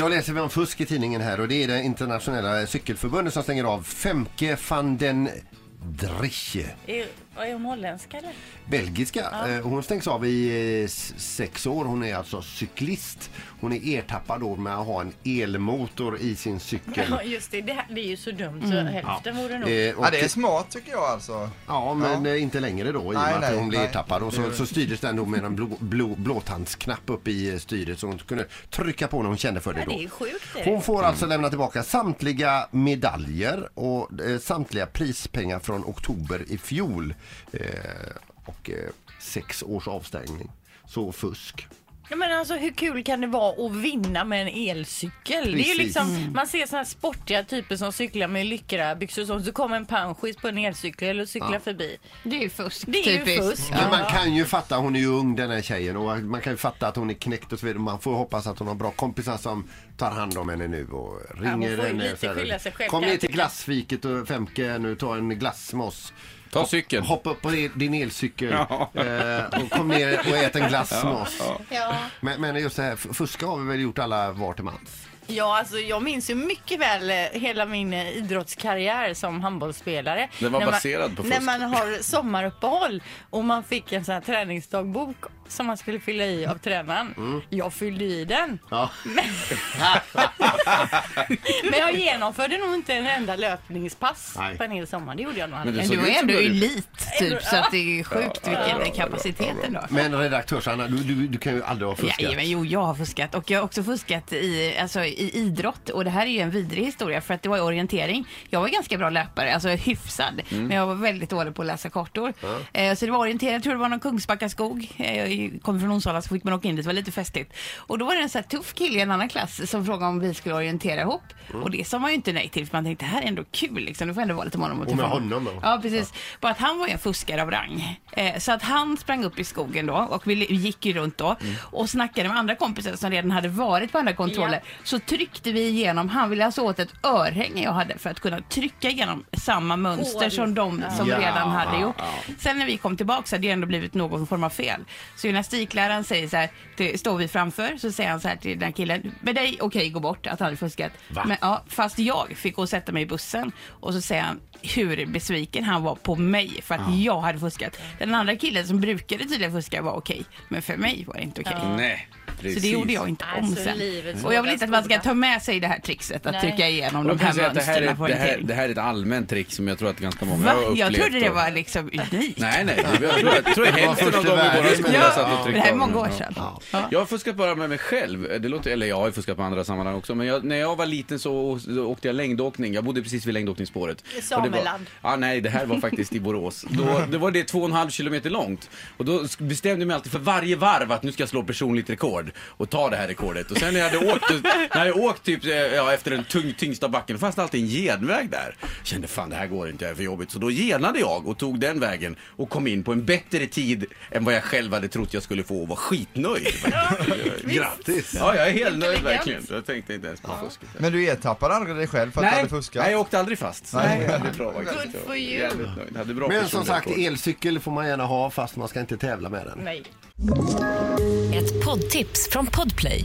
Jag läser om fusk i tidningen här och det är det internationella cykelförbundet som stänger av Femke van den Drich, Är, är hon holländska eller? belgiska. Eh, Hon stängs av i eh, s- sex år. Hon är alltså cyklist. Hon är ertappad då med att ha en elmotor i sin cykel. Ja, just det. Det, här, det är ju så dumt så Mm. hälften vore nog. Eh, och- Ja, det är smart tycker jag alltså. Ja, men eh, inte längre då i och med Nej, att nej, hon blev nej. ertappad. Och Det så, är- så styrdes den då med en blå, blå, blåtandsknapp upp i eh, styret så hon kunde trycka på när hon kände för det Ja, då. det är sjukt det. Hon får alltså lämna tillbaka samtliga medaljer och eh, samtliga prispengar från oktober i fjol. Eh, och eh, sex års avstängning. Så fusk. Ja, men alltså, hur kul kan det vara att vinna med en elcykel? Det är Precis. Mm. ju liksom, man ser såna här sportiga typer som cyklar med lyckra byxor och sånt, så kommer en panschis på en elcykel och cyklar förbi. Det är ju fusk. Det är ju typiskt. fusk. Men man kan ju fatta, hon är ju ung den här tjejen och man kan ju fatta att hon är knäckt och så vidare. Man får hoppas att hon har bra kompisar som tar hand om henne nu och ringer hon får ju henne. lite så här, skylla sig själv Kom ner kanske." till glassfiket och Femke nu, ta en glass med oss. Ta cykeln. Hoppa upp på din elcykel eh, och kom ner och ät en glass med oss. Ja. Men, men just det här, f- fuska har vi väl gjort alla var till mans? Ja, alltså, jag minns ju mycket väl eh, hela min eh, idrottskarriär som handbollsspelare. Den var När man- baserad på fusk. När man har sommaruppehåll och man fick en sån här träningsdagbok som man skulle fylla i av tränaren. Mm. Jag fyllde i den. Ja. Men jag genomförde nog inte en enda löpningspass Nej. på en hel sommar. Det gjorde jag nog aldrig. Men såg du ut är som ändå du- elit typ så att det är sjukt Ja, det vilken är bra, det är bra, kapacitet det är bra. ändå. Men redaktörs-Anna, du, du, du kan ju aldrig ha fuskat. Ja, men jo, jag har fuskat och jag har också fuskat i, alltså, i idrott och det här är ju en vidrig historia för att det var i orientering. Jag var ganska bra löpare, alltså hyfsad, men jag var väldigt dålig på att läsa kartor. Eh, så det var orientering, jag tror det var någon Kungsbackaskog, eh, jag kommer från Onsala så fick man åka in dit, det var lite festligt. Och då var det en så här tuff kille i en annan klass som frågade om vi skulle orientera ihop och det sa man ju inte nej till för man tänkte det här är ändå kul liksom, det får ändå vara lite med honom. Och Och med träffa honom då? Ja, precis. Bara att han var ju en fuskare av rang. Eh, så att han sprang upp i skogen då och vi vi gick ju runt då och snackade med andra kompisar som redan hade varit på andra kontroller. Så tryckte vi igenom, han ville alltså åt ett örhänge jag hade för att kunna trycka igenom samma mönster som de som Ja. redan hade gjort. Sen när vi kom tillbaka så hade det ändå blivit någon form av fel. Så gymnastikläraren säger så här, det står vi framför, så säger han så här till den här killen, med dig, okej gå bort, att han hade fuskat. Va? Men, ja, fast jag fick gå och sätta mig i bussen och så säger han hur besviken han var på mig för att jag hade fuskat. Den andra killen som brukade tydligen fuska var okej, men för mig var det inte okej. Nej, precis. Så det gjorde jag inte om Alltså, sen. livets Och jag vill inte att man ska våga skola. ta med sig det här trixet att Nej. trycka igenom Jag de kan säga här att det, här mönstren på är, det, en här, till. det här är ett allmänt trick som jag tror att ganska många Va? har upplevt. Jag trodde det och- var liksom unikt. Nej, nej. det- Jag tror, jag tror hälften först av i dem i världen, våra men- skola Ja. satt och Det tryckte här är av många den. år Ja. sedan. Jag har fuskat bara med mig själv. Det låter, eller jag har ju fuskat på andra sammanhang också. Men jag, när jag var liten så så åkte jag längdåkning. Jag bodde precis vid längdåkningsspåret. I Och det var- Sameland. Ja, nej, det här var faktiskt i Borås. Då, det var det två och en halv kilometer långt. Och då sk- bestämde jag mig alltid för varje varv att nu ska jag slå personligt rekord och ta det här rekordet. Och sen när jag hade åkt, när jag åkt typ, eh, ja, efter den tung, tyngsta backen, då fanns det alltid en genväg där. Jag kände fan det här går inte, det här är för jobbigt. Så då genade jag och tog den vägen och kom in på en bättre tid än vad jag själv hade trott jag skulle få och var skitnöjd. faktiskt. Grattis! Ja, jag är helt nöjd Intelligent. verkligen. Jag tänkte inte ens på fusket. Men du ertappade aldrig dig själv för att du Nej, hade fuskat? nej, jag åkte aldrig fast. Nej. Nej, det är bra faktiskt. Good for you. Jävligt nöjd. Hade bra Men som personlig sagt, rekord. elcykel får man gärna ha fast man ska inte tävla med den. Nej. Ett poddtips från Podplay.